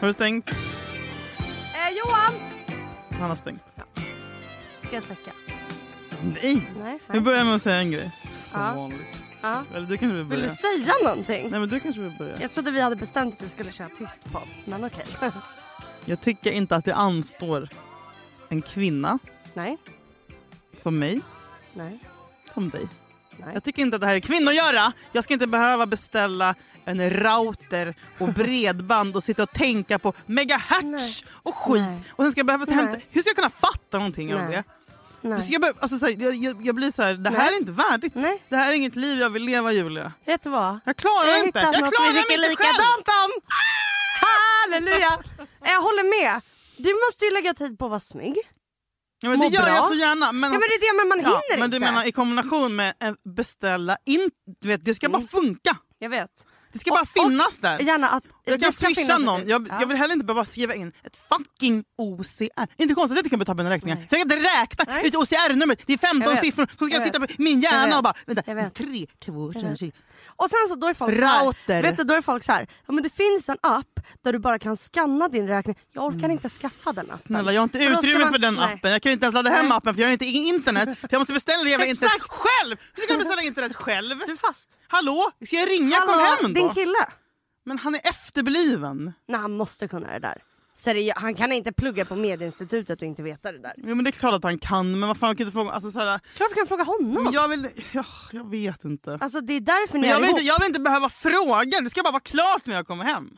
Har du stängt? Eh, Johan! Han har stängt. Ska jag släcka? Nej! Nej. Vi börjar med att säga en grej. Som Ja. vanligt. Ja. Eller du kanske vill Vill börja? du säga någonting? Nej men du kanske vill börja. Jag trodde vi hade bestämt att du skulle köra tyst podd, men okej. Jag tycker inte att det anstår en kvinna nej, som mig, nej, som dig. nej. Jag tycker inte att det här är kvinnogöra! Jag ska inte behöva beställa en router och bredband och sitta och tänka på megahertz och skit. Nej. Och sen ska jag behöva ta hämta... Nej. Hur ska jag kunna fatta någonting av Nej. det? Hur nej. Ska jag, behöva, alltså, så här, jag, jag, jag blir så här, det här Nej. är inte värdigt. Nej, Det här är inget liv jag vill leva Julia. vet du vad? Jag klarar Jag har inte. hittat Jag något vi klarar tycker mig inte själv. likadant om! Halleluja! Jag håller med. Du måste ju lägga tid på att vara snygg. Ja, men Må det gör jag bra. så gärna. Men, Ja men det är det, men man Ja, hinner men du inte. menar i kombination med eh, beställa in, du vet, det ska Mm. bara funka. Jag vet. Det ska Och- bara finnas där. Gärna att... Jag det kan ska swisha finnas ett någon. ut. Jag, Ja. jag vill heller inte behöva skriva in ett fucking OCR. Inte konstigt att jag kan betala mina räkningar. Nej. För jag kan inte räkna Nej. ut OCR-numret. Det är 15 Jag vet. siffror. Så ska jag, Jag titta på min Jag hjärna vet. och bara... Vänta. Jag vet. 3, 2, Jag vet. 20. Och sen så då är folk Så Router. här, vet du, då är folk så här. Ja men det finns en app där du bara kan scanna din räkning. Jag orkar inte skaffa den appen. Mm. Snälla jag har inte För då ska utrymme man- för den nej. appen. Jag kan inte ens ladda hem Nej. appen för jag har inte internet. För jag måste beställa det jävla internet själv! Hur ska jag beställa internet själv? Du är fast. Hallå? Ska jag ringa? Kom hem din då! kille. Men han är efterbliven. Nej han måste kunna det där. Seriö- han kan inte plugga på Medieinstitutet och inte veta det där. Jo men det är klart att han kan men vad fan jag kan inte fråga... Alltså, så här, Klart du kan fråga honom. men jag vill... Ja, jag vet inte. Alltså det är därför ni Men jag, är vill ihop. inte, jag vill inte behöva fråga, det ska bara vara klart när jag kommer hem.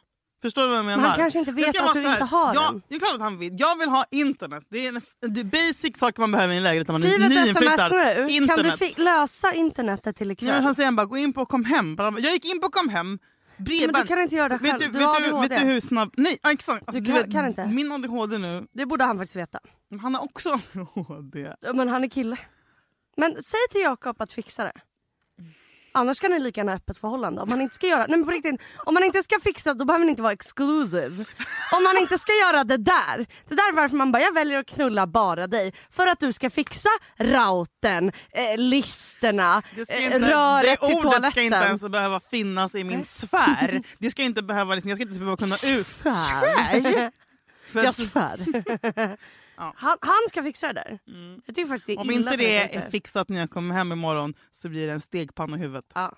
Förstår du vad jag menar? han kanske inte Det ska vet vara att du så här, inte har ja, den. Det är klart att han vet. Jag vill ha internet. Det är en, det är basic saker man behöver i en lägenhet när man Skriv är ett sms nyinflyttad. nu. Kan du Internet. fi- lösa internetet till Nej, men ikväll? han säger bara gå in på och kom hem. Bara, Jag gick in på och kom hem. Men du Bredband. kan inte göra det själv. vet, du, du, vet, har du, ADHD. vet du hur snabb... Nej ja, exakt. Alltså, Du kan- vet, kan inte. Min ADHD nu, Det borde han faktiskt veta. han har också ADHD. Men han är kille. Men säg till Jakob att fixa det. Annars kan ni lika gärna ha öppet förhållande. Om man inte ska göra, nej men på riktigt, om man inte ska fixa då behöver man inte vara exclusive. Om man inte ska göra det där. Det där är varför man bara, jag väljer att knulla bara dig. För att du ska fixa routern, eh, listerna, Det, ska eh, inte, röret det till ordet toaletten. Eh. ska inte ens behöva finnas i min sfär. Det ska inte behöva, liksom, jag ska inte behöva kunna ut... Sfär? För Jag att- svär. Ja. Mm. han, han ska fixa det där. Jag tycker faktiskt det är Om illa inte att han det inte- är fixat när jag kommer hem imorgon så blir det en stegpanna i huvudet. Ja.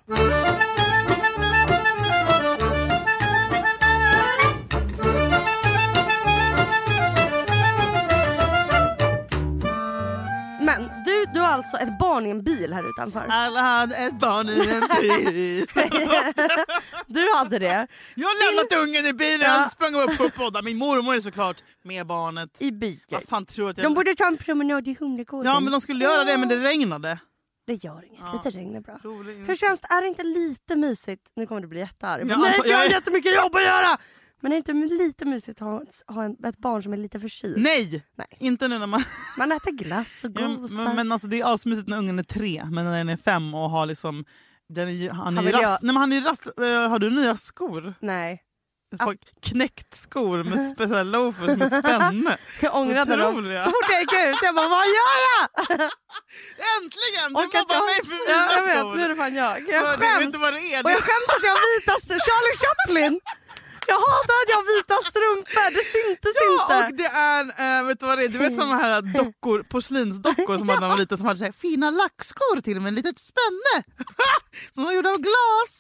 Men du, du har alltså ett barn i en bil här utanför. Alla hade ett barn i en bil. Du hade det Jag har lämnat ungen i bilen, Ja. han sprang upp för att podda. Min mormor är såklart med barnet. i bilen. Vad fan tror du att jag... De borde ta en promenad i Humlegården. Ja men de skulle göra det men det regnade. Det gör inget, Ja. lite regn är bra. Rolig- Hur känns det? Är det inte lite mysigt? Nu kommer det bli jättearg. Ja, Ja, Nej, anta- för jag har jag- jättemycket jobb att göra! Men är det inte lite mysigt att ha, ha en, ett barn som är lite förkyld? Nej! Nej. Inte nu när man... Man äter glass och Ja, gosar. men, men alltså, det är asmysigt när ungen är tre men när den är fem och har liksom... Den är ju, han, är Han ju vill rast, göra- nej, men han är ju rast... eh, Har du nya skor? Nej. Ett par Ah. knäckt skor med speciella loafers med spänne. Jag ångrade dem. Otroliga. Så fort jag gick ut, jag bara vad gör jag? Äntligen! Du Orkar inte mobbar ha- mig för ja, mina jag vet, skor! nu är det fan jag. Vad- Jag du vet skäms. inte vad det är. Och jag Det, skäms att jag har vitaste Charlie Chaplin. Jag hatar att jag har vita strumpor, det syntes ja, och inte. det är, äh, vet du vad det är? Du vet såna här dockor, porslinsdockor som man hade när man var liten som hade så här, fina lackskor till och med, ett litet spänne. som var gjorda av glas.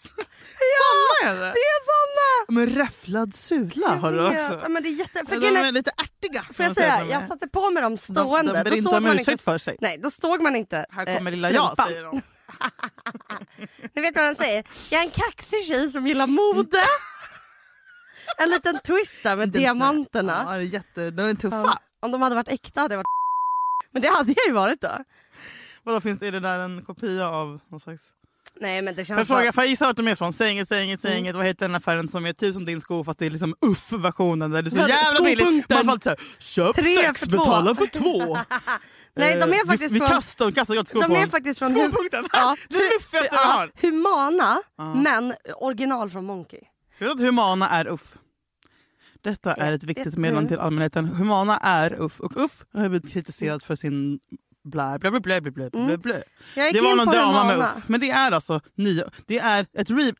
Såna är det. Det är såna! Men räfflad sula har du Jag också. vet. Ja, men det är jätte... Ja, för de grejen är är, lite ärtiga. kan får man jag säga att säga, de är. jag satte på mig dem de, stående. de ber då inte såg om man ursäkt inte... för sig. Nej, då såg man inte Här kommer eh, lilla jag strumpan. säger de. Ni vet vad han säger? Jag är en kaxig tjej som gillar mode. En liten twist där med Den- Ja, diamanterna. det är jätte, de är tuffa. Ja. Om de hade varit äkta hade jag varit Men det hade jag ju varit då. Vadå, finns det, är det där en kopia av någon slags... Nej men det Får jag känns fråga, bara- får jag gissa vart de är ifrån? Säg inget, säg inget, Mm. säg inget. Vad heter den affären som är tusen din sko fast det är liksom UFF-versionen där det är så Ja, det- jävla billigt. skopunkten. Man får alltid såhär, köp Tre sex, för två. betala för två. Nej de Eh, är faktiskt vi, vi från... kastar, de kastar gratis skor De på är en. faktiskt från... Skopunkten! Ja, det är det luffigaste vi har. humana Ja. men original från Monkey. Vet du att Humana är UFF? Detta är ett vet viktigt du. meddelande till allmänheten. Humana är UFF och UFF har blivit kritiserat för sin blä, blä, blä, blä, blä, blä, blä. Mm. Jag gick Det var in någon på drama med humana. UFF. Men det är alltså nya, det är ett re,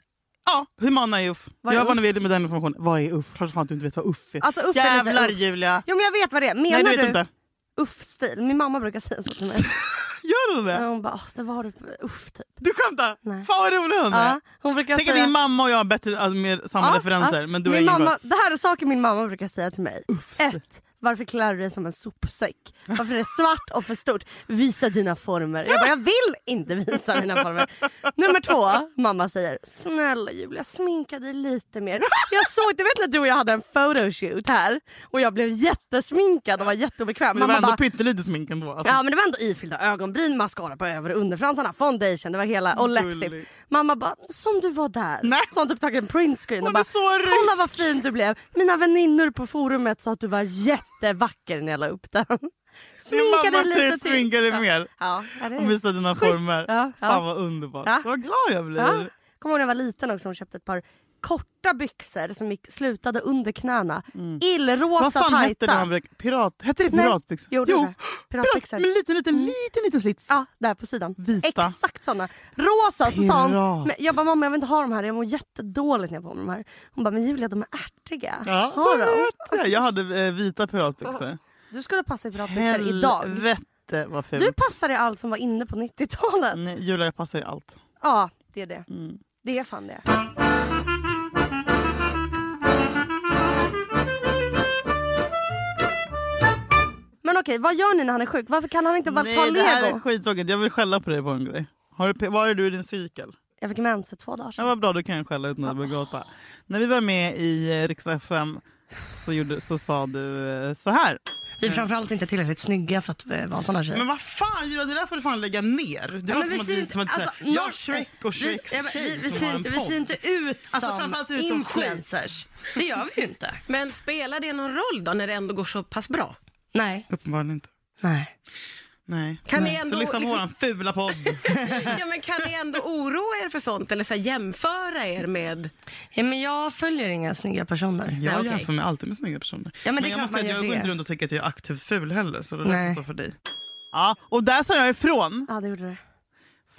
Ja, Humana är uff. Vad är jag var uff? villig med den informationen. Vad är uff? Klart som fan att du inte vet vad uff är. Alltså, uff är lite Jävlar uff. Julia! Jo men jag vet vad det är. Menar Nej du vet du inte. uff-stil? Min mamma brukar säga så till mig. Gör hon det? Hon bara, "Åh, det var du på uff typ. Du skämtar? Nej. Fan vad rolig hon är. Ja, hon brukar Tänk att säga... din mamma och jag har bättre, alltså, mer samma Ja, referenser. ja. Men du min är ingen mamma, Det här är saker min mamma brukar säga till mig. Ett, varför klär du dig som en sopsäck? Varför är det svart och för stort? Visa dina former. Jag bara, jag vill inte visa mina former. Nummer två, mamma säger, snälla Julia sminka dig lite mer. Jag såg, du vet när du och jag hade en photoshoot här och jag blev jättesminkad och var jätteobekväm. Men det var Mamma ändå bara, pyttelite smink ändå. Alltså. Ja men det var ändå ifyllda ögonbryn, mascara på över och underfransarna, foundation, det var hela och läppstift. Gulligt. Mamma bara, som du var där. Nej. Så hon typ tagit en printscreen och Hon bara, är så rysk. kolla vad fin du blev. Mina väninnor på forumet sa att du var jättevacker när jag la upp den. Min Sminka mamma dig säger lite till. sminka dig mer. Ja, ja, det Hon är... visar dina Schysst. former. Ja, ja. Fan vad underbart. Ja. Vad glad jag blir. ja. Kommer ihåg när jag var liten också, hon köpte ett par korta byxor som gick, slutade under knäna. Illrosa Mm. Vad fan tajta. hette det? man brukar- Pirat? Hette det Nej, piratbyxor? Jo, det är det. pirat, Piratbyxor. Mm. men liten, liten, liten, liten slits. Ja, där på sidan. Vita. Exakt såna. Rosa. Så sa hon, Pirat. men jag bara mamma jag vill inte ha de här, jag mår jättedåligt när jag har på mig de här. Hon bara men Julia de är ärtiga. Ja, ha det dem. vet jag. Jag hade eh, vita piratbyxor. Du skulle passa i piratbyxor idag. Helvete vad fult. Du passar i allt som var inne på 90-talet. Nej, Julia jag passar i allt. Ja det är det. Mm. Det är fan det. Men okej, vad gör ni när han är sjuk? Varför kan han inte bara ta Nej det här lego? är skittråkigt. Jag vill skälla på dig på en grej. Har du, var är du i din cykel? Jag fick mens för två dagar Ja, sedan. vad bra, då kan jag skälla utan att bli gråta. När vi var med i eh, Rix FM så, gjorde, så sa du eh, så här. Vi är framförallt inte tillräckligt snygga för att eh, vara såna tjejer. Men vad fan Julia, det där får du fan lägga ner. Det Ja, låter men vi som att ser vi- inte- som att eh, alltså, säga, jag någon- är Shrek och Shreks Ja, men vi, tjej vi, som ser har en inte, vi podd. ser inte ut som Alltså, framförallt ser vi ut som skit. influencers. det gör vi ju inte. Men spelar det någon roll då när det ändå går så pass bra? Nej. Uppenbarligen inte. Nej. Nej. Kan Nej. ni ändå så lyssna på liksom- våran fula podd. Ja, men kan ni ändå oroa er för sånt eller så här, jämföra er med... Ja, men jag följer inga snygga personer. Jag Nej, okej. jämför mig alltid med snygga personer. men det är jag klart måste säga man att jag gör går det. inte runt och tycker att jag är aktivt ful heller. Så det där Nej. får stå för dig. Ja, och där sa jag ifrån. Ja, det gjorde du.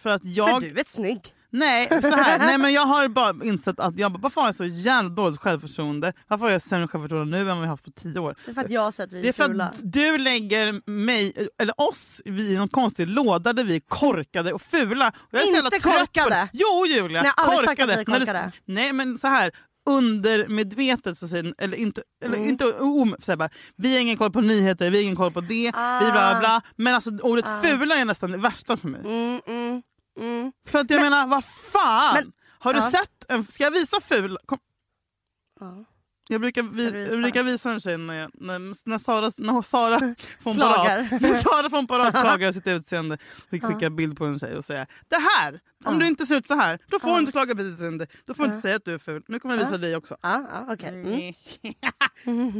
För att För jag... du är snygg. Nej, så här. Nej, men jag har bara insett att jag bara, varför har jag så jävla dåligt självförtroende? Varför har jag sämre självförtroende nu än vad jag har haft på tio år? Det är för att jag har sett att vi Det är är för fula. att du lägger mig, eller oss, vi i någon konstig låda där vi är korkade och fula. Och jag är så jävla Inte trött på korkade. det. Jo Julia, Nej, jag har aldrig sagt korkade. att vi När är du- korkade. nej men så här undermedvetet så säger eller inte, eller Mm. inte om, så här bara, vi har ingen koll på nyheter, vi har ingen koll på det, vi bla bla bla. Men alltså ordet fula är nästan det värsta för mig. Ah. Mm, mm, mm. För att jag menar, vad fan! Men- har du Ja. sett? En, ska jag visa ful? Kom. Ja. Jag brukar, vi, du visa? jag brukar visa en tjej när, jag, när, när Sara, när Sara från Klagar. Parat, när Sara från Parat klagar sitt utseende. Vi skickar bild på en tjej och säger det här, om du inte ser ut så här, då får du inte klaga på ditt utseende. Då får du inte säga att du är ful. Nu kommer jag visa dig också. Ja, ja, okej. Mm.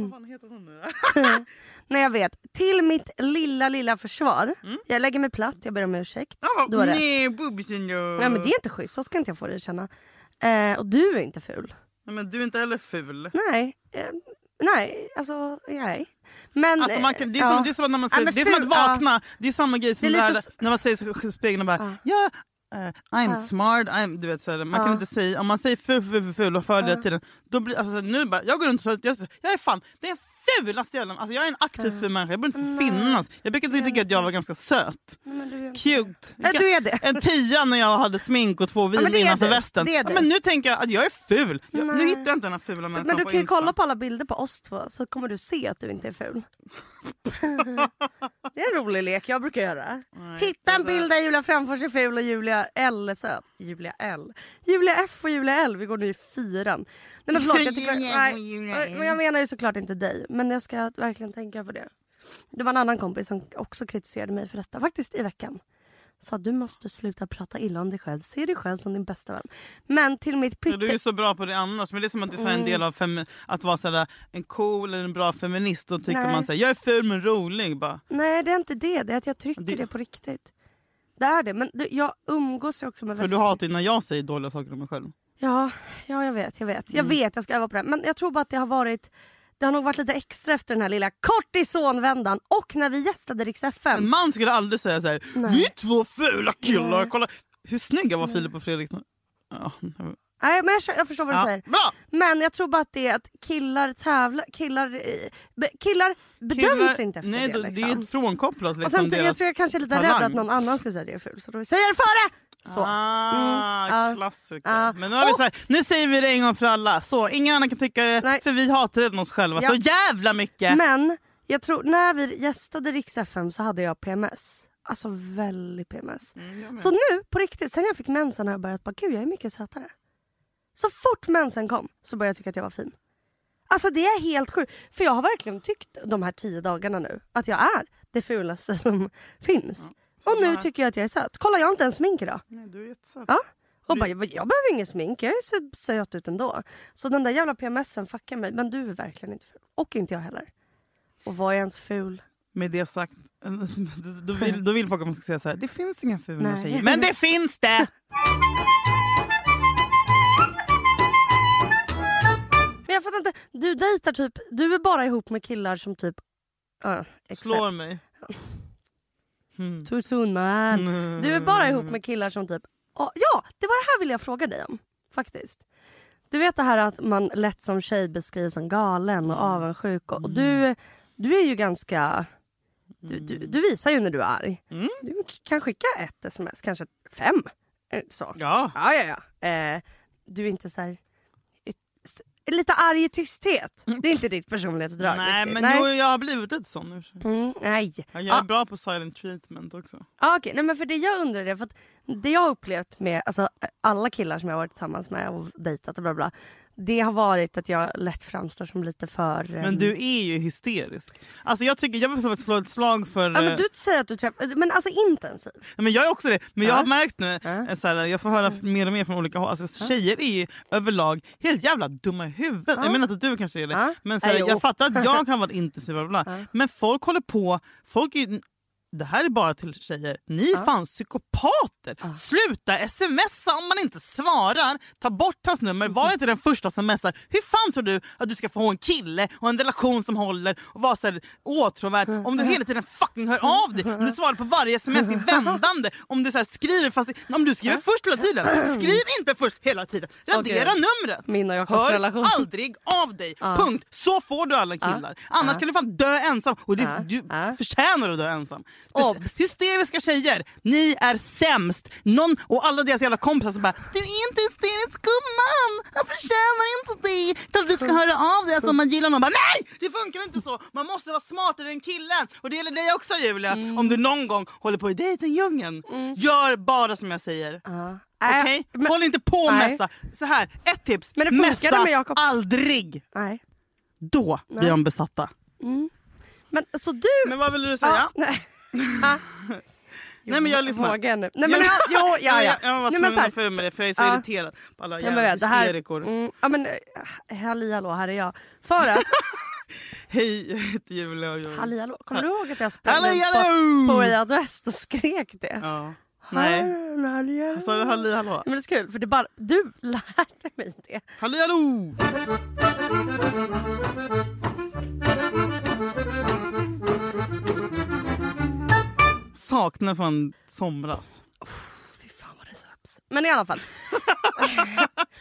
Vad fan heter hon nu då? Nej, jag vet. Till mitt lilla, lilla försvar. Jag lägger mig platt, jag ber om ursäkt. Jag Du har bara, rätt. nej boobsen jag. Nej, men det är inte schysst. Så ska inte jag få dig att känna. Eh, och du är inte ful. Nej, men du är inte heller ful. Nej. Eh, nej, alltså nej. Men, Alltså man kan, det, är eh, som, ja. det är som att när man Ja, säger, men det är som ful, att vakna, det är samma grej som Det är lite där, s- när man säger sig i spegeln och bara ja, eh, I'm smart, I'm, du vet så här, man kan Ja. inte säga, om man säger ful, ful, ful, ful och för hela tiden, då blir alltså, så här, nu bara, jag går runt och jag, jag är fan, det är fulaste jävla, alltså jag är en aktiv ful människa, jag borde inte få finnas. Jag brukade tycka att jag var ganska söt, Nej, men du är- cute. Ja, du är det. En tia när jag hade smink och två vin men det är innanför du. västen. Det är Ja, du. men nu tänker jag att jag är ful. Jag, nu Nej. hittar jag inte den här fula människan Men du på kan ju Insta. kolla på alla bilder på oss två så kommer du se att du inte är ful. det är en rolig lek jag brukar göra. Hitta alltså- en bild där Julia framför sig är ful och Julia L är söt. Julia L. Julia F och Julia L, vi går nu i fyran. Nej men förlåt, jag, tycker, Julia F och nej, Julia nej, L. men jag menar ju såklart inte dig men jag ska verkligen tänka på det. Det var en annan kompis som också kritiserade mig för detta faktiskt i veckan. Sa du måste sluta prata illa om dig själv, se dig själv som din bästa vän. Men till mitt Ja, pytte... Du är ju så bra på det annars. Men det är som att det är så här Mm. en del av femi- att vara så här, en cool eller en bra feminist. Då tycker Nej. man så här, jag är ful men rolig. Bara, Nej det är inte det, det är att jag tycker det, Det- på riktigt. Det är det, men du, jag umgås ju också med för du typ- väldigt- hatar ju när jag säger dåliga saker om mig själv. Ja, ja jag vet, jag vet. Mm. Jag vet, jag ska öva på det. här. Men jag tror bara att det har varit det har nog varit lite extra efter den här lilla kortisonvändan och när vi gästade Rix FM. En man skulle aldrig säga så här, Nej. vi är två fula killar. Kolla hur snygga var Filip och Fredrik. nu?" Ja, Nej men jag, jag förstår vad du Ja. säger. Bra! Men jag tror bara att det är att killar tävlar, killar, eh, be, killar bedöms Killar- inte efter nej, det. då- liksom. är frånkopplat och liksom sen, jag deras... tror jag kanske är lite talang. rädd att någon annan ska säga att jag är ful så då säger jag det före! Så. Ah, Mm, ja. klassiker. Ja. Men nu, har vi Och- så här, nu säger vi det en gång för alla. Så, ingen annan kan tycka det, Nej. för vi hatar redan oss själva Ja. så jävla mycket. Men jag tror, när vi gästade Rix FM så hade jag PMS. Alltså väldigt PMS. Mm, så nu på riktigt, sen jag fick mensen har jag börjat bara gud jag är mycket sötare. Så fort mensen kom så började jag tycka att jag var fin. Alltså det är helt sjukt. För jag har verkligen tyckt de här tio dagarna nu att jag är det fulaste som finns. och nu man- tycker jag att jag är söt. Kolla jag har inte ens smink idag. Nej, du är jättesöt. Ja. Och bara, jag behöver ingen smink, jag ser söt ut ändå. Så den där jävla PMSen fuckar mig. Men du är verkligen inte ful. Och inte jag heller. Och vad är ens ful? Med det sagt, då vill, då vill folk att man ska säga så här. Det finns inga fula Nej. tjejer. Men det finns det! Men jag fattar inte, du dejtar typ, du är bara ihop med killar som typ... Uh, Slår mig. Hmm. Too soon man. Du är bara ihop med killar som typ... ja, ja, det var det här ville jag fråga dig om. Faktiskt. Du vet det här att man lätt som tjej beskrivs som galen Mm. och avundsjuk. Och, och du, du är ju ganska... Du, du, Mm. du visar ju när du är arg. Du k- kan skicka ett sms, kanske fem. eh, Så. Ja. Ja, ja, ja. Eh, du är inte så här... ett- s- Lite arg i tysthet. Det är inte ditt personlighetsdrag. Nej riktigt. men nej. Jo, jag har blivit lite sån nu. Mm, nej. Jag är Ja. bra på silent treatment också. Ja okej, nej men för det jag undrar är för att det jag har upplevt med alltså, alla killar som jag har varit tillsammans med och dejtat och bla bla. Det har varit att jag lätt framstår som lite för... ehm, Men du är ju hysterisk. Alltså jag, tycker, jag vill faktiskt slå ett slag för... Ja eh, men du säger att du träffar... Men alltså intensiv. Nej, Men jag är också det. Men jag Ja. har märkt nu, Ja. Mm. eh, så här, jag får höra mer och mer från olika håll. Alltså, tjejer är ju överlag helt jävla dumma i huvudet. Jag menar inte att du kanske är det. Ja. Men så här, Ja, jo. jag fattar att jag kan vara intensiv. Bla bla. bla. Men folk håller på... Folk är, ju- det här är bara till tjejer. Ni är fan psykopater! Sluta smsa om man inte svarar. Ta bort hans nummer. Var inte den första som smsar. Hur fan tror du att du ska få en kille och en relation som håller och vara så här åtråvärd om Mm. du hela tiden fucking hör av dig? Om du svarar på varje sms i vändande. Om du så här skriver fast... Om du skriver först hela tiden. Skriv inte först hela tiden. Radera Okej. numret. Min och Jakobs Hör relation. aldrig av dig. Punkt. Så får du alla killar. Annars kan du fan dö ensam. Och det, Ja. du Ja. förtjänar att dö ensam. Obs. Hysteriska tjejer, ni är sämst. Någon, och alla deras jävla kompisar som bara “du är inte hysterisk gumman, jag förtjänar inte det”. Klart du ska Mm. höra av dig alltså, om man gillar någon. Bara, Nej! Det funkar inte så. Man måste vara smartare än killen. Och det gäller dig också Julia. Mm. Om du någon gång håller på i dejtingdjungeln. Gör bara som jag säger. Ja. Okej? Mm. Äh, men- Håll inte på och Nej. messa. Så här, ett tips. Men det funkade messa med Jakob. aldrig. Nej. Då blir de besatta. Men så du... Men vad ville du säga? ja, nej. Ja. Nej, men jag lyssnar. Vågar nu. Nej men jag, jo, ja, ja. Jag, jag var Nej, men tvungen så här, att få ur mig det för jag är så Ja. irriterad på alla Ja, men jävla vet, det här, hysterikor. mm, ja men eh, halli hallå här är jag. För att, Hej, jag heter Julia och jag... halli hallå, kommer du ihåg att jag sprang Halli, runt hallå! på, på Way Out West och skrek det? Ja. Nej, Alltså, Hallå. sa du halli hallå? Men det är så kul för det är bara, du lärde mig det. Halli hallå! Saknar fan somras. Fy fan vad det söps. Men i alla fall.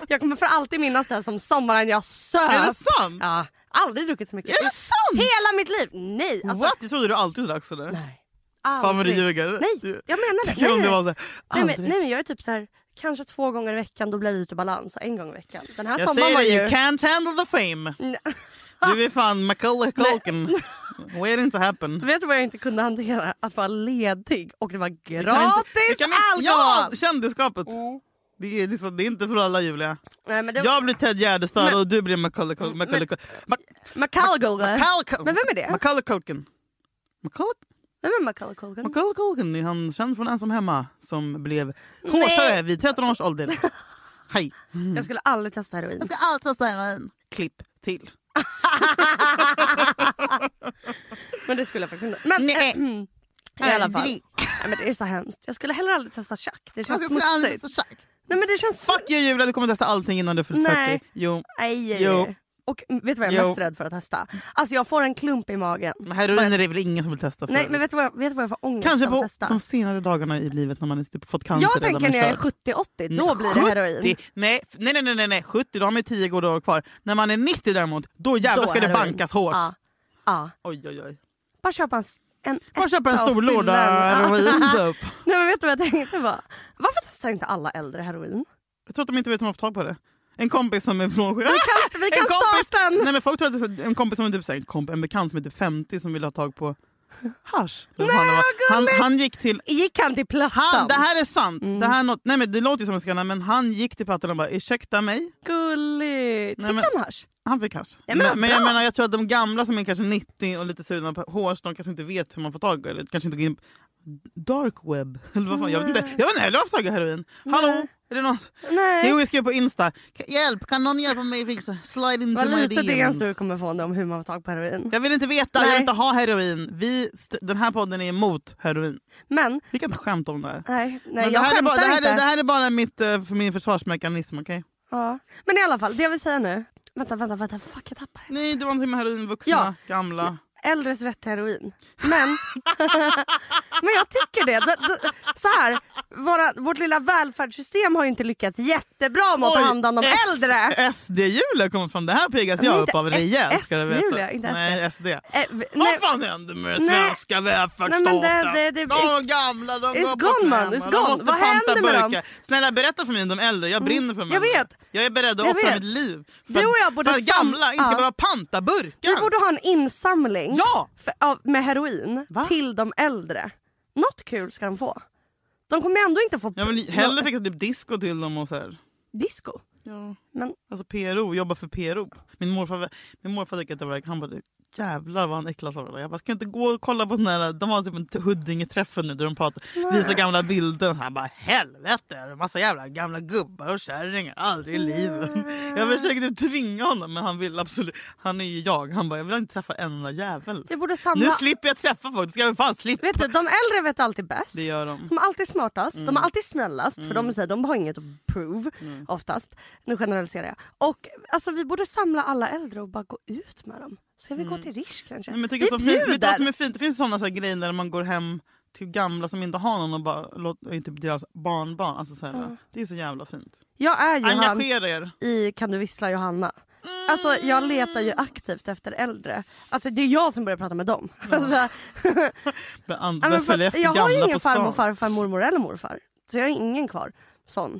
jag kommer för alltid minnas det här som sommaren jag söp. Är det sant? Ja, aldrig druckit så mycket. Är det sant? Hela mitt liv! Nej. Alltså, What? Jag trodde du alltid drack sådär. Nej. Fan vad du Aldrig. ljuger. Nej, jag menar det. Tänk om det var så här, nej, aldrig. men, nej men jag är typ så här, kanske två gånger i veckan då blir det lite balans. Och En gång i veckan. Den här Jag sommaren säger var det, ju... Mm, you can't handle the fame. Du är fan Macaulay Culkin. Waiting to happen. Vet du vad jag inte kunde hantera? Att vara ledig och det var Du kan inte- gratis du kan inte- Ja, alkohol! kändisskapet. Det, är liksom, det är inte för alla Julia. Nej, men det Jag blir Ted Gärdestad Men- och du blir Macaulay Culkin. Macaulay Culkin. Ma- McCallgulver. Macaulay Culkin. Men vem är det? Macaulay Culkin. Macaulay, Vem är Macaulay Culkin? Macaulay Culkin är han känd från Ensam Hemma som blev hårsö vid 13 års ålder. Hej. Jag skulle aldrig testa heroin. ska alltid ställa en klipp till. Men det skulle jag faktiskt inte. Men, Nej. eh, mm, I alla fall. Nej, men det är så hemskt. Jag skulle heller aldrig testa schack. Det Alltså, känns smutsigt. Nej men det känns... Fuck you Julia, du kommer testa allting innan du fyllt Nej. 40. Jo. Nej. Jo. Och mm, vet du vad jag är Jo. mest rädd för att testa? Alltså jag får en klump i magen. Men heroin är det väl ingen som vill testa för? Nej men vet du vad jag, vet du vad jag får ångest Kanske av på att testa? de senare dagarna i livet när man typ fått cancer Jag redan tänker när jag är körd. 70-80, Mm. då blir det heroin. 70? Nej, f- nej, nej, nej, nej, nej, 70 då har man ju 10 goda år kvar. När man är 90 däremot, då jävlar Då ska det heroin. bankas hårt. Ja. Ja. Oj, oj, oj. Bara köpa en, en Bara köpa en etta och stor fylla låda den. Ja. heroin typ. Nej men vet du vad jag tänkte bara? Varför testar inte alla äldre heroin? Jag tror att de inte vet hur man får tag på det. En kompis som är från Vi kan, vi kan En kompis- starta en! Nej men folk tror att det är så- en kompis som är typ, så här, en, komp- en bekant som är typ 50 som vill ha tag på hasch. Eller vad fan det var. han, han gick till... Gick han till Plattan? Han, det här är sant! Mm. Det, här är något, nej, men det låter ju som en skanna men han gick till plattan och bara ursäkta mig. Gulligt! Nej, Fick men- han hasch? Han fick hasch. Ja, men vad jag bra. menar jag tror att de gamla som är kanske 90 och lite sugna på hårs, de kanske inte vet hur man får tag i det. Kanske inte går in på dark web. Eller vad fan, jag vet inte. Jag vet inte heller varför jag tagit heroin. Hallå? Nej. Är det någon? Nej. Jo jag skrev på Insta. Hjälp, kan någon hjälpa mig att fixa? Slide into Vad my lite DMs du DMs. kommer få om hur man får tag på heroin. Jag vill inte veta, jag Nej. vill inte ha heroin. Vi, st- den här podden är emot heroin. Men, Vi kan inte skämta om det här. nej, nej Men jag det, här är bara, skämtar det, här inte. är, det här är bara mitt, eh, för min försvarsmekanism, okej? Ja. Men i alla fall, det jag vill säga nu. Vänta, vänta, vänta. Fuck jag tappar det. Nej, det var någonting med heroin, vuxna, Ja. gamla. Äldres rätt till heroin. Men, men jag tycker det. D- d- Så här, våra, vårt lilla välfärdssystem har ju inte lyckats jättebra med att ta hand om de S- äldre. SD-Julia kommer från. Det här piggas Men jag inte upp av S- rejält. ska du veta. S-Julia, inte Nej, SD. Eh, v- Vad nej, fan händer med den Nej. svenska Nej, välfärdsstaten? men det- det- det- de gamla de it's går på gone, man, knäna. De it's gone. måste Vad panta händer med dem? Mm. burkar. Snälla berätta för mig om de äldre. Jag brinner för de Jag äldre. vet. Jag är beredd att Jag offra vet. mitt liv. För, Du och jag att- borde för att sam- gamla inte ska ja. behöva panta burkar. vi borde ha en insamling Ja! för, av, med heroin Va? till de äldre. Något kul ska de få. De kommer ändå inte få Jag vill hellre fixa typ disco till dem och så här. disco. Ja. Men Alltså PRO, jobba för PRO. Min morfar, min morfar tycker att det var han bara jävlar vad han äcklas av det där." Jag bara ska jag inte gå och kolla på den där, de har typ en t- Huddinge-träffen nu där de pratar, visar gamla bilder. Han bara helvete, är det massa jävla gamla gubbar och kärringar, aldrig i livet. Jag försökte typ tvinga honom men han vill absolut, han är ju jag. Han bara jag vill inte träffa en enda jävel. jag borde Nu samla... slipper jag träffa folk, det ska jag fan slippa. Vet du, de äldre vet alltid bäst. Det gör de. De är alltid smartast, de är alltid snällast för de, är så här, de har inget att prove oftast. Nu generaliserar jag. Och alltså, vi borde samla alla äldre och bara gå ut med dem. Ska vi gå till Rish kanske? Mm. Nej, men jag tycker vi så fint, vet du vad som är fint? Det finns sådana så här grejer där man går hem till gamla som inte har någon och bara låter typ deras barnbarn. Alltså så här, Det är så jävla fint. Jag är ju han Engagera er. i Kan du vissla Johanna. Alltså jag letar ju aktivt efter äldre. Alltså det är jag som börjar prata med dem. Alltså, Börja an- börja Ja, men för, följa att efter jag har ju gamla på ingen stan. farmor, farfar, mormor eller morfar. Så jag har ingen kvar sån.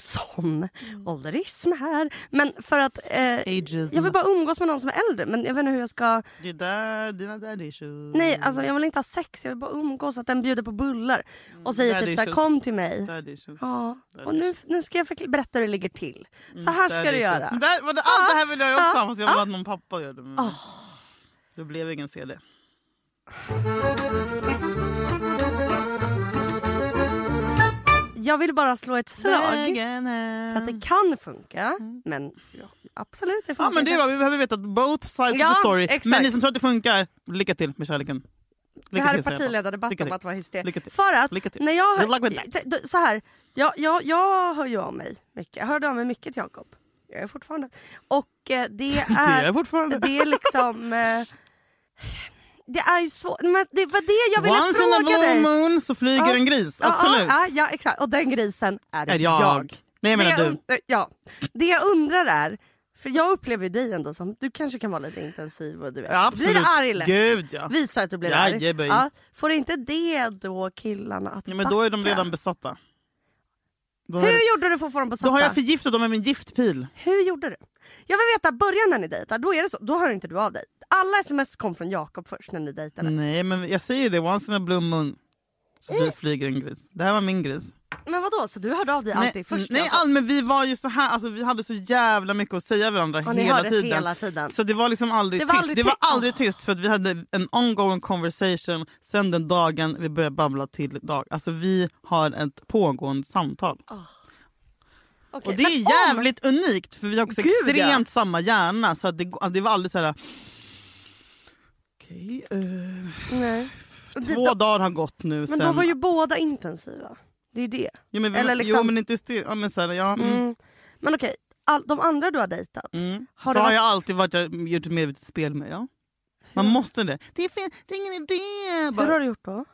Sån ålderism här. Men för att eh, Ageism. jag vill bara umgås med någon som är äldre. Men jag vet inte hur jag ska... Det är där dina daddy issues. Nej, alltså jag vill inte ha sex. Jag vill bara umgås. Att den bjuder på bullar. Och säger Daddy typ såhär, issues. kom till mig. Daddy issues. Ja, och nu, nu ska jag förkla- berätta hur det ligger till. Så här ska Daddy du issues. göra. Men Där, vad Mm. det, allt det här vill jag ju Ja. också ha fast jag vill Ja. Ah. att någon pappa gör det. med mig. Det blev ingen CD. Jag vill bara slå ett slag Vägen hem. för att det kan funka. Men ja, absolut, det funkar. Ja men det är inte. bra, vi behöver veta both sides Ja, of the story. exakt. Men ni som tror att det funkar, lycka till med kärleken. Lycka Det här till, är säger jag bara. partiledardebatt Lycka om till. att vara Lycka till. hysterisk. För att Lycka till. när jag... Good luck with that. d- d- Så här, jag, jag, jag hör ju av mig mycket. Jag hörde av mig mycket till Jakob. Jag är fortfarande. Och eh, det Det är... är fortfarande. det är liksom... Eh, det är ju svårt. Men det var det jag ville Once in a fråga blue dig. Ah, moon så flyger en gris. Ja, Absolut. Ja, ja, ja, exakt. Och den grisen är, Är jag. ah, jag. Nej, jag menar det du. und- eh, Ja. Det jag undrar är, för jag upplever ju dig ändå som, du kanske kan vara lite intensiv och du vet. Ja, absolut. Blir du arg lätt? Gud ja. Visar att du blir Jajeböj. arg. Ja, får inte det då killarna att ja men då är de backa? redan besatta. Då har, Hur gjorde du för att få dem besatta? då har jag förgiftat dem med min giftpil. Hur gjorde du? Jag vill veta, början när ni dejtar, då är det så, då hör inte du av dig. Alla sms kom från Jakob först när ni dejtade. Nej men jag säger det, once in a blue moon så Eh. fly- flyger en gris. Det här var min gris. Men vadå, så du hörde av dig alltid först? alltså. nej Jakob? all, men vi var ju så här, alltså, vi hade så jävla mycket att säga varandra Ja, ni hela, hördes tiden. hela tiden. Så det var liksom aldrig Det var tyst. aldrig det var ty- aldrig tyst för att vi hade en ongoing conversation sen den dagen vi började babbla till dag. Alltså vi har ett pågående samtal. Okej, Och det men är om- jävligt unikt för vi har också Gud, ja. extremt samma hjärna. Så att det, går- alltså, det var aldrig så här... Okej, eh, Nej. Och det- två då- dagar har gått nu Men sen... då var ju båda intensiva. Det är det. jo, men, vi- eller jo liksom- men inte styr... Ja, men så här, ja, mm. Mm. Men okej, all, de andra du har dejtat. Har så det har varit, jag alltid varit, gjort ett medvetet spel med. Ja. Man måste det. Det, fin- det är ingen idé. Hur har Bara, du gjort då?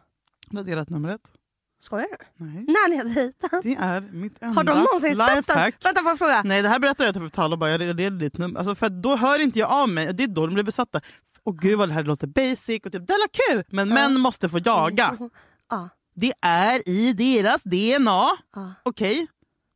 raderat numret. Skojar du? Nej. När ni har dejtat? Det är mitt enda Mm. Har de någonsin sett den? lifehack. Vänta får jag fråga? Nej det här berättar jag till Tal och bara jag raderade ditt nummer. Alltså, för att då hör inte jag av mig och det är då de blir besatta. Och gud vad det här låter basic och typ Della Q! Men män måste få jaga. Ja. Det är i deras DNA. Okej?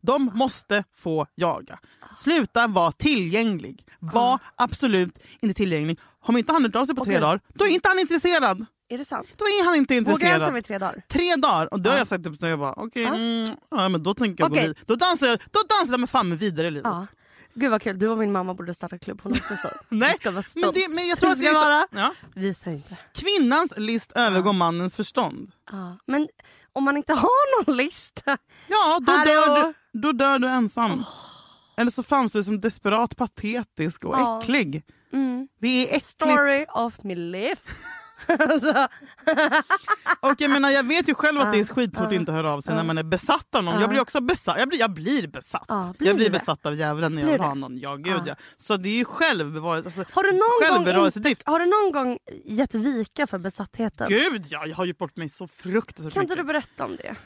De måste få jaga. Sluta vara tillgänglig. Var absolut inte tillgänglig. Om inte han hört av sig på tre Okej. dagar, då är inte han intresserad. Är det sant? Då är han inte Går intresserad. gränsen vid tre dagar? Tre dagar och då har jag sagt upp så jag bara okej, mm, ja, men då tänker jag Okej. gå vidare. Då dansar jag, då dansar jag med fan med vidare i livet. Ja. Gud vad kul, du och min mamma borde starta klubb. Hon är också så. Nej, Du ska vara men, stolt. det, men jag tror Du att det ska är så- vara. ja. Visa inte. Kvinnans list övergår mannens förstånd. Ja. Men om man inte har någon lista. Ja, då, Hallå? dör du, då dör du ensam. Eller så framstår du som desperat patetisk och Ja. Mm. äcklig. Det är äckligt. Story of my life. Alltså, så, Och jag, menar, jag vet ju själv att det är skitsvårt att inte höra av sig när man är besatt av någon. Jag blir också besatt. Jag blir, jag blir besatt. Ja, blir jag blir du det? besatt av djävulen när jag Blir vill du ha det? någon. Ja, gud, ja. Så det är ju självbevarelse. Alltså, har, du någon gång självbevarelsedrift. inte, har du någon gång gett vika för besattheten? Gud ja, jag har gjort bort mig så fruktansvärt Kan inte mycket. du berätta om det?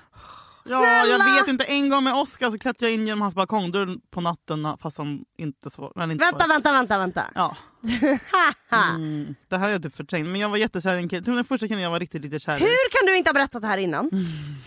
Ja, jag Snälla! vet inte. En gång med Oscar så klättrade jag in genom hans balkongdörr på natten fast han inte svarade. Han inte Vänta, svarade. vänta, vänta, vänta. Ja, Haha. mm, det här är jag typ förträngt. Men jag var jättekär i en kille. Det var Den första killen jag var riktigt, riktigt kär i. Hur kan du inte ha berättat det här innan?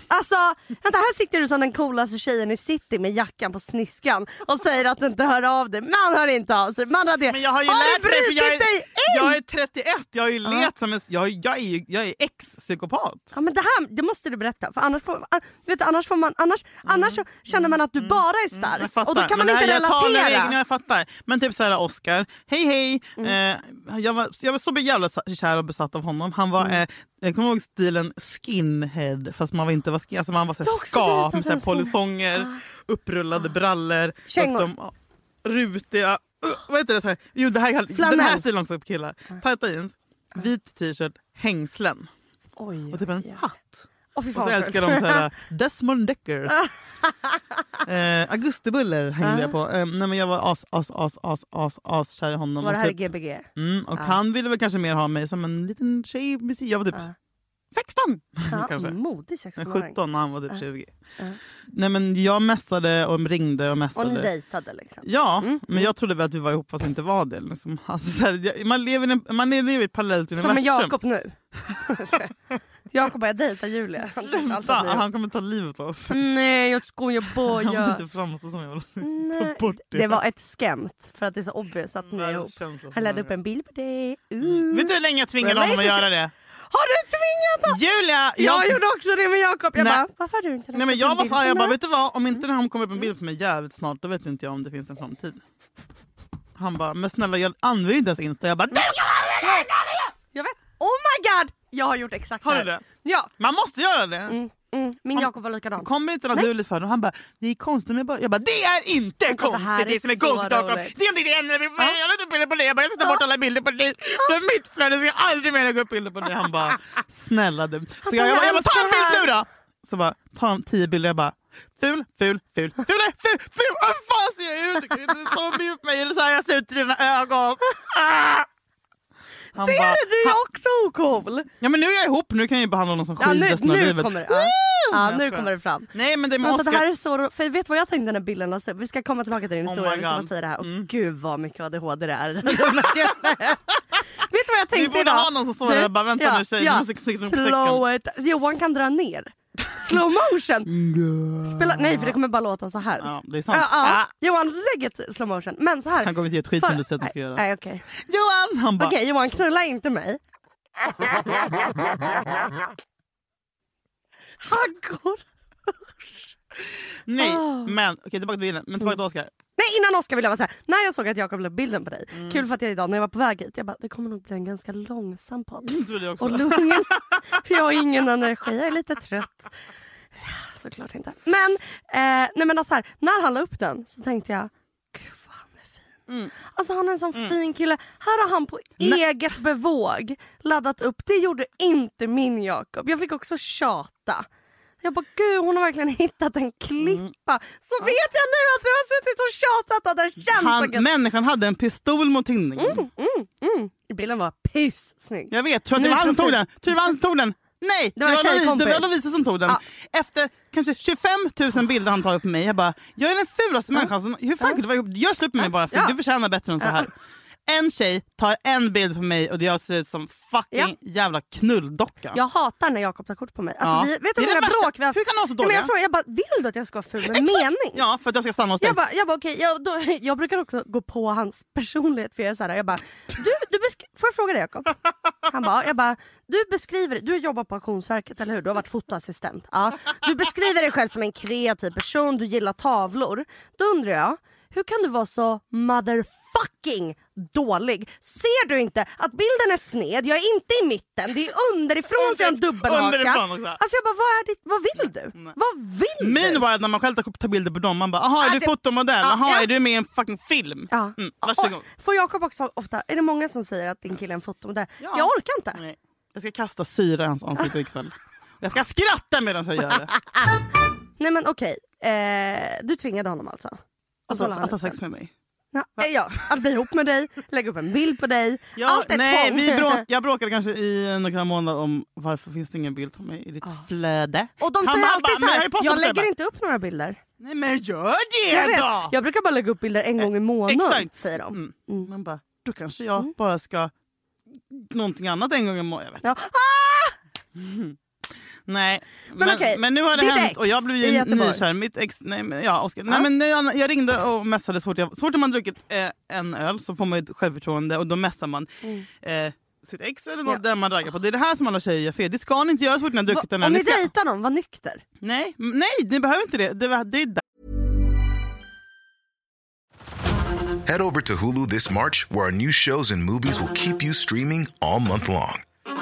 Alltså, vänta här sitter du som den coolaste tjejen i city med jackan på sniskan och säger att du inte hör av dig. Man hör inte av sig. Man har det. Men jag har ju har lärt du mig för brutit jag är, dig än? jag är 31. Jag har ju levt som en... Jag, jag är ju jag är ex-psykopat. Ja, men det här det måste du berätta. För annars, får, an- vet du, annars, får man, annars, annars så känner man att du bara är stark. Mm. Jag fattar. och då kan man men det inte här, jag tar mina relatera. egna, jag fattar. Men typ såhär Oscar, hej hej. Mm. Eh, jag, var, jag var så jävla sa- kär och besatt av honom. Han var, Mm. eh, jag kommer ihåg stilen skinhead fast man var inte var skin, alltså man var såhär Jag har också ska dejtat Ah. med såhär en skinhead. polisonger, upprullade brallor. Kängor. och de- ja, Rutiga, uh, vad heter det? Så här? Jo, det här, den här Flanell. stilen också på killar. Ah. Tajta jeans, vit t-shirt, hängslen Oj, och typ en oj, oj. hatt. Åh, fy Och fan, så vad älskar skönt. de så här, Desmond Decker. eh, augustibuller hängde jag på. Eh, nej, men jag var as, as, as, as, as, as kär i honom. Var det och här typ, GBG? mm, och han ville väl kanske mer ha mig som en liten tjej. med sig. Jag var typ 16 Ja, kanske. modig Men 16-åring. 17 och han var typ 20. Nej, men jag mässade och ringde och Och ni mässade. dejtade liksom. Ja, men jag trodde väl att vi var ihop fast inte var det. Liksom. Alltså, så här, jag- man, lever i en, man lever i ett parallellt Som med universum. Jakob nu. Jakob bara, jag dejtar Julia. alltså, Sluta! Han kommer ta livet av oss. Nej jag skojar Han vill inte bara. framstå som jag vill. Nej, Ta bort det. Det var ett skämt för att det är så obvious att ni är ihop. Världens känsla för Han laddade upp människa. en bild på dig. Mm. Uh. Vet du hur länge jag tvingade honom att göra det? Har du tvingat honom? Julia! Jag gjorde också det med Jakob. Jag Nej. bara, varför har du inte Nej, men jag var fan, jag Mm. bara, vet du vad? Om inte han kommer upp en bild på mig jävligt snart då vet inte jag om det finns en framtid. Han bara, men snälla jag använder inte ens Insta. Jag bara, "Du kan använda det!" Jag vet. Oh my god! Jag har gjort exakt Har du här. det? Ja. man måste göra det. Mm. Min Om- Jakob var likadan. Kommer inte naturligt för honom. Han bara, det är konstigt men jag bara, jag bara det är inte Alltså, det här konstigt. Det är som är så konstigt Jakob, roligt. det är om det ändrar mig. Jag la upp bilder på dig. Jag bara, jag ska ta bort alla bilder på dig. Från mitt flöde ska jag aldrig mer lägga upp bilder på dig. Han bara, snälla du. Alltså, Så jag, jag, bara, jag bara, ta en bild nu då! Så bara, ta en tio bilder. Jag bara, ful, ful, ful, ful, ful, ful. Vad fan ser jag ut? Du kan inte ta mig upp mig. Eller så har jag slut i dina ögon. Ah! Han Ser bara, du? Du är han- också ocool. ja, men nu är jag ihop, nu kan jag ju behandla honom som Ja, skit nu, resten av nu livet. kommer det. Ja. Ja, nu kommer det fram. Nej men det Men måste... Vänta, det här är så ro- för vet du vad jag tänkte när bilden lades upp? Vi ska komma tillbaka till din Oh historia, my vi ska bara God. säga det här. Och Mm. gud vad mycket ADHD det är. vet du vad jag tänkte Vi borde idag? ha någon som står där och bara, "Vänta nu, tjej, du måste knyta ihop Slow it. Johan kan dra ner. Slow motion. Spela, nej för det kommer bara låta så här. Mm. Ja, det är sant. Ja, ja. Ah. Johan lägg ett slow motion. Men så här. Han kommer inte ge ett skit För- om du säger att han ska göra. Nej okej. Johan! Han bara, Okej Johan knulla inte mig. Han går. nej Ah. Mm. men okej tillbaka till bilden, men tillbaka till Oscar. Nej innan Oscar vill jag bara säga, när jag såg att Jakob la upp bilden på dig, Mm. kul för att jag idag när jag var på väg hit, jag bara det kommer nog bli en ganska långsam podd. Mm, Det trodde jag också. Och lugn, för jag har ingen energi, jag är lite trött. Ja, Såklart inte. Men, eh, nej men alltså här, när han la upp den så tänkte jag, gud vad han är fin. Alltså han är en sån Mm. fin kille. Här har han på eget bevåg laddat upp, det gjorde inte min Jakob. Jag fick också tjata. Jag bara, gud hon har verkligen hittat en klippa. Så vet jag nu att du har suttit och tjatat och det känns så gött. Mm. Han, människan hade en pistol mot tinningen. Mm. Bilden var pyssnygg. Jag vet, tror att det Nu var han som profil- tog den? Tror du det var han som tog den? Nej, det var var, en Lovisa, tjejkompis. det var Lovisa som tog den. Ja. Efter kanske 25 000 bilder han tar upp på mig, jag bara, jag är den fulaste människan som... Hur fan kunde du vara ihop? Gör slut med mig bara för Ja. du förtjänar bättre än så här. En tjej tar en bild på mig och jag ser ut som fucking Ja. jävla knulldocka. Jag hatar när Jakob tar kort på mig. Alltså, Ja. vi, vet Det du är hur många det värsta. bråk vi har haft? Hur kan de vara så Nej, men jag, dåliga? frågar, jag bara, vill du att jag ska vara ful med mening? Ja, för att jag ska stanna hos dig. Jag bara, jag, bara, okej, jag, då, jag brukar också gå på hans personlighet. För jag, är så här, jag bara, du, du besk- Får jag fråga dig Jakob? Han bara, jag bara, du beskriver Du jobbar på Auktionsverket, eller hur? Du har varit fotoassistent. Ja. Du beskriver dig själv som en kreativ person, du gillar tavlor. Då undrar jag, hur kan du vara så motherfucking dålig? Ser du inte att bilden är sned, jag är inte i mitten, det är underifrån så jag har en dubbelhaka. Underifrån också. Alltså jag bara, vad, är ditt, vad vill du? Vad vill du? Meanwhile, när man själv tar tar bilder på dem, man bara “aha, är Ja, du det- fotomodell? Ja, Aha, ja. är du med i en fucking film?” Ja. mm, Och, Varsågod. får Jakob också ofta, är det många som säger att din kille är en fotomodell? Ja. Jag orkar inte. Nej. Jag ska kasta syra i hans ansikte ikväll. Jag ska skratta medan jag gör det. Nej men okej, eh, du tvingade honom alltså? Och Alltså, så la han att ha upp sex den. med mig. Ja, eh, ja, att bli ihop med dig, lägga upp en bild på dig. Ja, Allt är nej, tvång. vi bråk, jag bråkade kanske i några månader om varför finns det ingen bild på mig i ditt flöde. Och de Han säger bara, alltid bara, så "Men här, har ju postat jag det." Jag lägger bara, inte upp några bilder. Nej men gör det Jag, vet, då! jag brukar bara lägga upp bilder en gång i månaden exakt. säger de. Mm. Man bara, då kanske jag Mm. bara ska någonting annat en gång i månaden. Jag vet. Ja. Ah! Nej, Men men, okej, men, nu har det ditt hänt ex och jag blev i ju Göteborg. nykär. Mitt ex, nej men, ja, Oskar. Nej, men jag, jag ringde och messade så fort, jag, så fort man druckit eh, en öl så får man ju ett självförtroende och då messar man eh, sitt ex eller något Mm. Ja. den man raggar på. Det är det här som alla tjejer gör fel. Det ska ni inte göra så fort ni har druckit en Va, öl. om ni Ni ska, dejtar någon, var nykter. nej, m- nej, ni behöver inte det. Det, var- det är där. Head over to Hulu this March, where our new shows and movies will keep you streaming all month long.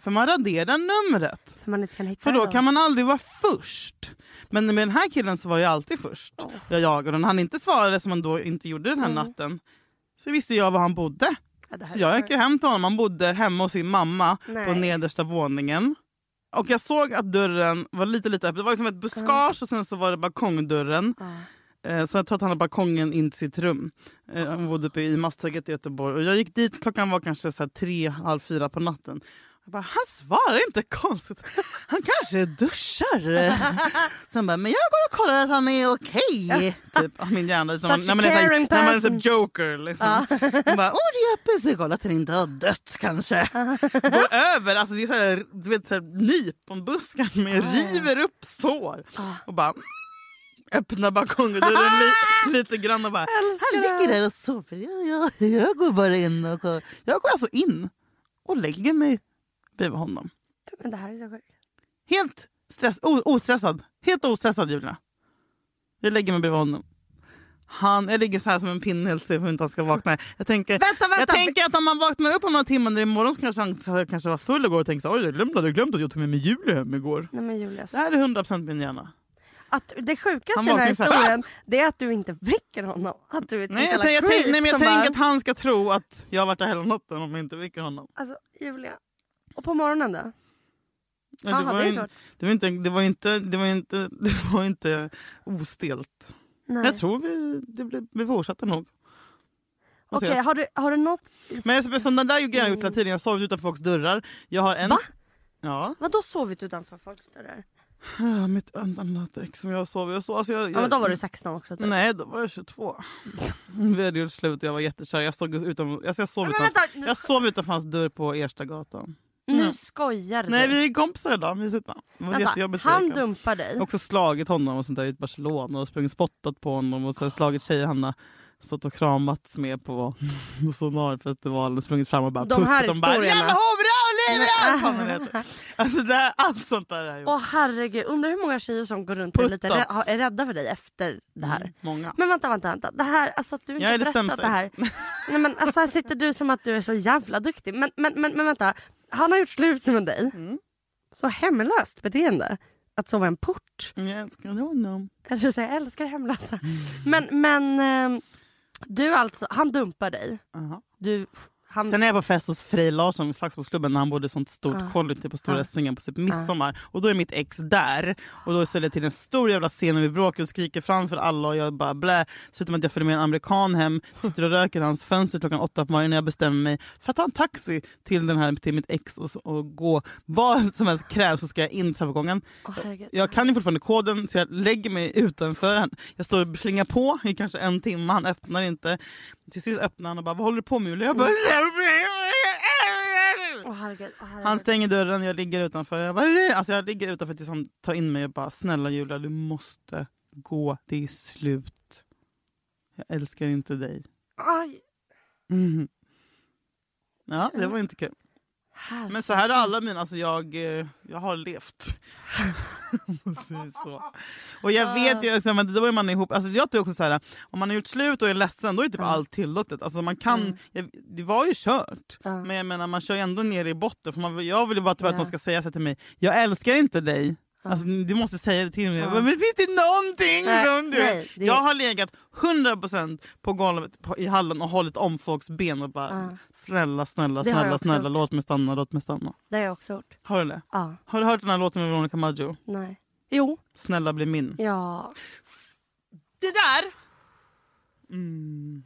För man raderar numret. För man inte kan hitta För då dem. kan man aldrig vara först. Men med den här killen så var jag alltid först. Jag jagade honom. Han inte svarade som han då inte gjorde den här Mm. natten. Så visste jag var han bodde. Ja, det här Så är jag gick ju hem till honom. Han bodde hemma hos sin mamma på Nej. nedersta våningen. Och jag såg att dörren var lite lite öppen. Det var liksom ett buskage och sen så var det balkongdörren. Eh, Så jag tror att han hade balkongen in till sitt rum. Eh, Han bodde uppe i Masthugget i Göteborg. Och jag gick dit, klockan var kanske så här tre, halv fyra på natten. Jag bara, han svarar inte konstigt. Han kanske duschar. Sen bara, men jag går och kollar att han är okej. Typ, av min hjärna. Liksom, Such a när man är så här- caring när man är person. så joker liksom. Hon bara, åh det är precis kolla att han inte har dött kanske. Går över, alltså det är så här, du vet så här, nyponbuskar med river upp sår. Och bara öppnar balkongdörren Ah! li, lite grann och bara, han ligger där och sover. Jag, jag, jag går bara in och kollar. Jag går alltså in och lägger mig bredvid honom. Men det här är så sjukt. Helt stress, o, ostressad. Helt ostressad Julia. Jag lägger mig bredvid honom. Han, jag ligger så här som en pinne helt still för att han ska vakna. Jag tänker, Vänta, vänta. jag tänker att om man vaknar upp om några timmar när det är morgon så kanske han så- kanske var full igår och tänkte så, oj jag glömde, jag glömde att jag tog med mig Julia hem igår. Nej men Julius. Det här är 100% min hjärna. Att det sjukaste Han i den här vaknar så här, "Ah!" historien det är att du inte väcker honom. Att du är ett Nej, jag, sånt Typ jävla tänk, jag, tänk, nej, men jag som tänker bara, att han ska tro att jag har varit där hela natten om jag inte väcker honom. Alltså Julia. Och på morgonen då? Ja, Ja, det, hade var det ju- inte varit- det var inte, det var inte, det var inte, det var inte ostelt. Nej. Jag tror vi, det blev, vi fortsatte nog. Och Okej, ses. har, du, har du något? i- Men jag- sådana där grejer har jag gjort hela tiden. Jag har sovit utanför folks dörrar. Jag har en... Va? Ja, Vadå sovit utanför folks dörrar? Ah, mitt annat ex som jag har sovit. Jag sov, alltså jag, jag, Ja men då var du 16 också typ. Nej, då var jag 22. Vi hade gjort slut och jag var jättekär. Jag, såg utan, alltså jag, sov, Men utan, vänta, nu- jag sov utanför hans dörr på Erstagatan. Nu skojar du. Mm. Nej, vi är kompisar idag. Mysigt va? Det var Vänta, jättejobbigt. han Erika. dumpar dig. Jag har också slagit honom och sånt där i Barcelona och sprungit spottat på honom och så har jag slagit tjejer han har stått och kramats med på sonarfestivalen och sprungit fram och bara De här puttat dem bara historierna. “Jävla hora och livrör!” Alltså det här, allt sånt där har jag gjort. Åh herregud, undrar hur många tjejer som går runt och är, lite Puttats. Mm. rädd, har- är rädda för dig efter det här. Många. Men vänta, vänta, vänta. Det här, alltså att du inte Jag är det berättat sämsta det här. Nej, men alltså här sitter du som att du är så jävla duktig. Men, men, men, men vänta, han har gjort slut med dig. Mm. Så hemlöst beteende. Att sova i en port. Jag älskar honom. Jag skulle säga jag älskar hemlösa. Mm. Men, men ehm, du alltså, han dumpar dig. Aha. Du, han, Sen är jag på fest hos Frej Larsson i Slagsmålsklubben när han bodde i ett sånt stort kollektiv på Stora Essingen på typ midsommar. Och då är mitt ex där. Och då ställer jag till en stor jävla scen och vi bråkar och skriker framför alla och jag bara blä. Slutar med att jag följer med en amerikan hem, sitter och röker i hans fönster klockan åtta på morgonen när jag bestämmer mig för att ta en taxi till, den här, till mitt ex och, så- och gå vad som helst krävs så ska jag in i trappuppgången. Åh, herregud. Jag kan ju fortfarande koden så jag lägger mig utanför. Han- Jag står och plingar på i kanske en timme, han öppnar inte. Till sist öppnar han och bara “Vad håller du på med Julia?” Jag bara Åh, herregud, åh, herregud. Han stänger dörren, jag ligger utanför. Jag, bara, alltså jag ligger utanför tills han tar in mig och bara “Snälla Julia, du måste gå. Det är slut. Jag älskar inte dig.” Aj, Ja, det var inte kul. herregud. Men så här är alla mina, alltså jag, eh, jag har levt. Om man säger så. Och jag vet ju, alltså, men då är man ihop, alltså jag tror också så här, om man har gjort slut och är ledsen då är typ allt tillåtet. Alltså man kan, jag, det var ju kört. Men jag menar man kör ju ändå ner i botten för man, jag vill ju bara tyvärr att Ja. någon ska säga så här till mig, jag älskar inte dig. Alltså, du måste säga det till mig. Men finns det någonting Nej, som du... nej, det- Jag har legat 100% på golvet på, i hallen och hållit om folks ben och bara snälla, snälla, Det har jag snälla, också snälla, gjort. låt mig stanna, låt mig stanna. Det har jag också gjort. Har du det? Ja, Har du hört den här låten med Veronica Maggio? nej. Jo, Snälla bli min. ja. Det där! Mm.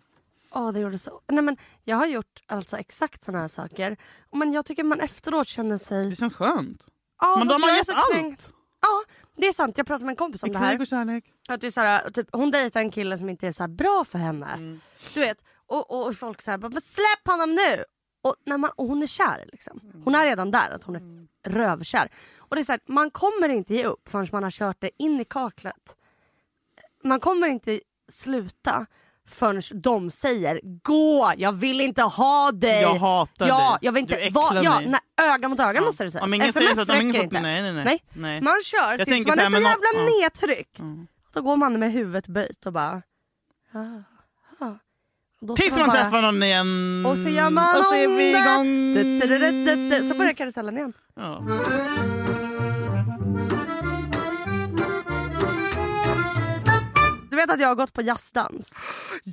Åh, det gjorde så. Nej, men jag har gjort alltså exakt såna här saker. Men jag tycker man efteråt känner sig... Det känns skönt. Ja, Men de fast har jag är gett så kränkt. allt. Ja, det är sant. Jag pratade med en kompis om I det här. krig och kärlek. Att det är så här typ, hon dejtar en kille som inte är så här bra för henne. Mm. Du vet, och, och, och folk säger bara "Men släpp honom nu! Och, när man, och hon är kär Mm. liksom. Hon är redan där, att hon är rövkär. Och det är så här, man kommer inte ge upp förrän man har kört det in i kaklet. Man kommer inte sluta förrän de säger gå, jag vill inte ha dig. Jag hatar ja, dig. Jag vill inte, Du äcklar vad- ja, mig. nej, öga mot öga måste det sägas. Om ingen SMS säger så att- om ingen räcker så- inte. nej, nej, nej. Nej. Man kör tills tänker man så är här, så men om- jävla ja. nedtryckt. Då går man med huvudet böjt och bara... "Ah, ah." Och då ska Tills man bara- träffar någon igen. Och så gör man Och så är om vi det. igång. Du, du, du, du, du. Så börjar karusellen igen. Ja. Du vet att jag har gått på jazzdans.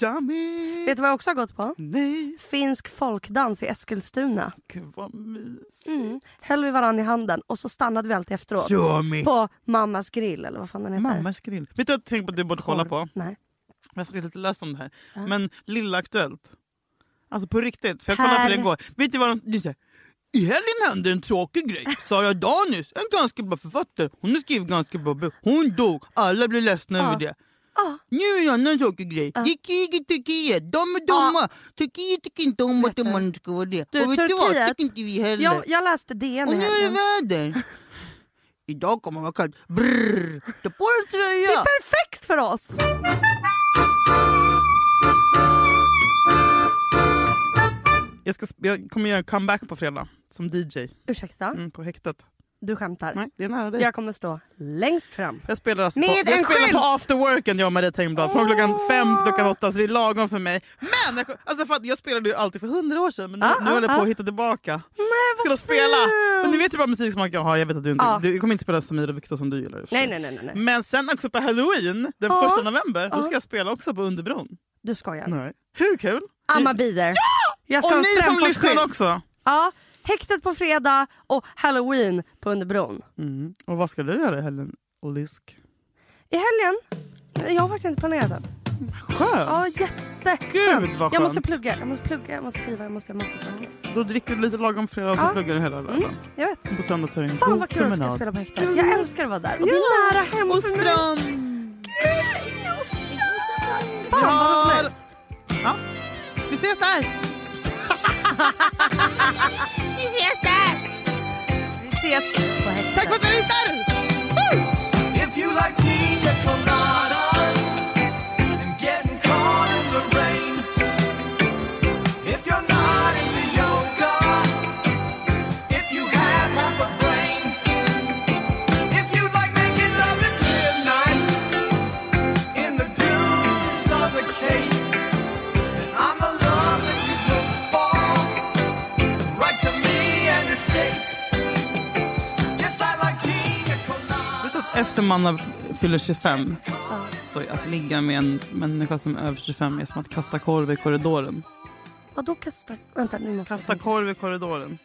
Yummy. Vet du vad jag också har gått på? Nej, Finsk folkdans i Eskilstuna. gud vad mysigt. Mm. Höll vi varandra i handen och så stannade vi alltid efteråt. Yummy. På mammas grill eller vad fan den heter. Mammas grill. Vet du vad jag tänkte på att du borde kolla på? Nej. Jag skrev lite löst om det här. Men Lilla Aktuellt. Alltså på riktigt, för jag kollade på det Här- igår. Vet du vad de... det är så här, I helgen hände en tråkig grej. Sara Danius, en ganska bra författare. Hon har skrivit ganska bra böcker. Hon dog. Alla blev ledsna över det. Nu är en annan tråkig grej. Det är krig i Turkiet. De är dumma. Turkiet tycker inte om att man ska vara det. Du, Och vet du vad? Turkiet- tycker inte vi heller. Jag, jag läste DN i Och nu är det helgen. väder. Idag kommer det vara kallt. Brrr. Ta på dig en tröja. Det är perfekt för oss! Jag, ska, jag kommer göra en comeback på fredag som DJ Ursäkta? mm, på häktet. Du skämtar. Nej, det är nära dig. Jag, Jag kommer stå längst fram. spelar alltså på, Med en jag spelar skylt! på afterworken jag och Maria Tengblad från klockan fem till klockan åtta så det är lagom för mig. Men jag, alltså för att jag spelade ju alltid för hundra år sedan men nu, Ah, nu ah, håller jag på ah. att hitta tillbaka. Nej, Ska vad de spela? fult. Men du vet ju bara musiksmak jag har, jag vet att du inte, Ja. du kommer inte spela Samir och Viktor som du gillar. i och för sig. Nej, nej, nej, nej, nej. Men sen också på halloween, den Ja. första november, då Ja. ska jag spela också på Underbron. Du skojar. Nej. Hur kul? Amma Bider. Ja! Jag ska Och ha ni som Strömforsskydd. lyssnar också. Ja, häktet på fredag och halloween på Underbron. Mm. Och vad ska du göra i helgen? Olisk. I helgen? Jag har faktiskt inte planerat än. Skönt! Ja, jätte. Gud vad Jag skönt! måste plugga, jag måste plugga, jag måste skriva, jag måste göra massa saker. Då dricker du lite lagom fredag och så Ja. pluggar du hela lördagen. Jag vet. På söndag tar du en Fan god vad kul att ska promenad. spela på häktet. Jag älskar att vara där. Och det är nära hem Och för mig. strand! Fan vad Ja. roligt. Ja. Vi ses där! Vi ses på häktet. Tack för att ni lyssnar! If you like pina coladas and getting caught in the rain, if you're not into yoga, if you have half a brain, if you like making love at midnight in the dunes of the Cape, then I'm the love that you've looked for. Write to me and escape. Yes, I like pina coladas. Vet du att efter man fyller 25, så att ligga med en människa som är över 25 är som att kasta korv i korridoren. Vadå kasta? Vänta nu måste Kasta jag tänka. korv i korridoren.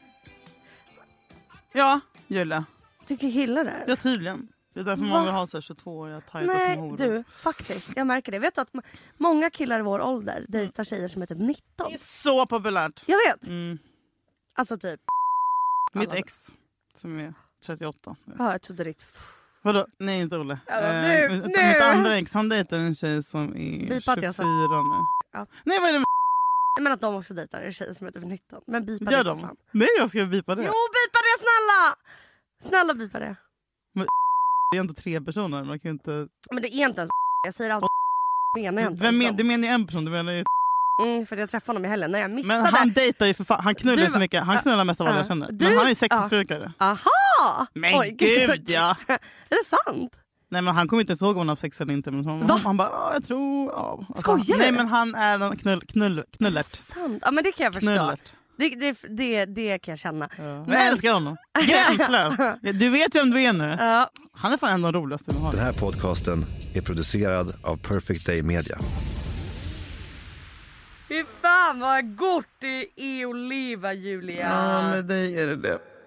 Ja, Julia. Tycker killar det här? Ja, tydligen. Det är därför Va? man vill ha så här 22-åriga tajta små Nej horor. du, faktiskt. Jag märker det. Vet du att m- många killar i vår ålder dejtar tjejer som är typ 19? Det är så populärt. Jag vet! Mm. Alltså typ, Mitt Alla. ex som är 38. ja jag trodde ditt Vadå? Nej, inte Olle. Ja, Eh, nu- mitt, nu. mitt andra ex han dejtar en tjej som är Bipa att jag sa- 24 nu. Ja. Nej, vad är det med Nej men att de också dejtar en tjej som är typ 19. Men bipa det Gör för de? fan. Nej, jag ska bipa det. Jo bipa det snälla! Snälla bipa det. Det är ändå tre personer. Man kan ju inte... Men det är inte ens Jag säger alltid menar jag inte Vem men, ens du menar ju en person, du menar ju... dem. mm, För att jag träffade honom i helgen när jag missade. Men han dejtar ju för fan, han knullar Du ju så var- mycket, han Ja, knullar mest av alla ja. jag känner. Du- men han är ju ja. sexmissbrukare. Aha! Men så- gud ja! Är det sant? Nej men han kommer inte ens ihåg om han har haft sex eller inte. Men han, Va? han bara, "Ja, jag tror... Ja. Alltså, Skojar Nej du? men han är en knull, knull, knullert. Sant. Ja men det kan jag förstå. Knullert. Det, det, det, det kan jag känna. Ja. Men- Jag älskar honom. Gränslöst. Du vet vem du är nu. Ja. Han är fan en av de roligaste vi har. Den här podcasten är producerad av Perfect Day Media. Fy fan vad gott det är att leva Julia. Ja, med dig är det det.